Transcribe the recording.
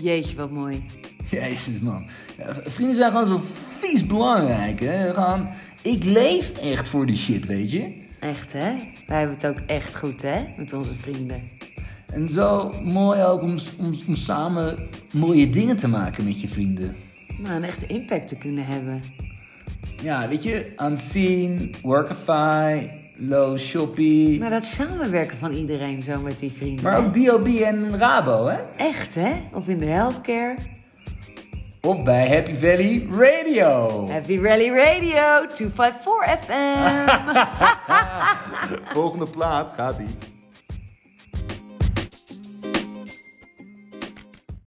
Jeetje, wat mooi. Jezus, man. Ja, Vrienden zijn gewoon zo vies belangrijk, hè. Gewoon, ik leef echt voor die shit, weet je. Echt, hè? Wij hebben het ook echt goed, hè? Met onze vrienden. En zo mooi ook om, om, om samen mooie dingen te maken met je vrienden. Maar een echte impact te kunnen hebben. Ja, weet je, Unseen, Workify, Low Shoppy. Maar dat samenwerken van iedereen zo met die vrienden. Maar ook hè? DOB en Rabo, hè? Echt, hè? Of in de healthcare. Of bij Happy Valley Radio. Happy Rally Radio 254 FM. Volgende plaat gaat ie.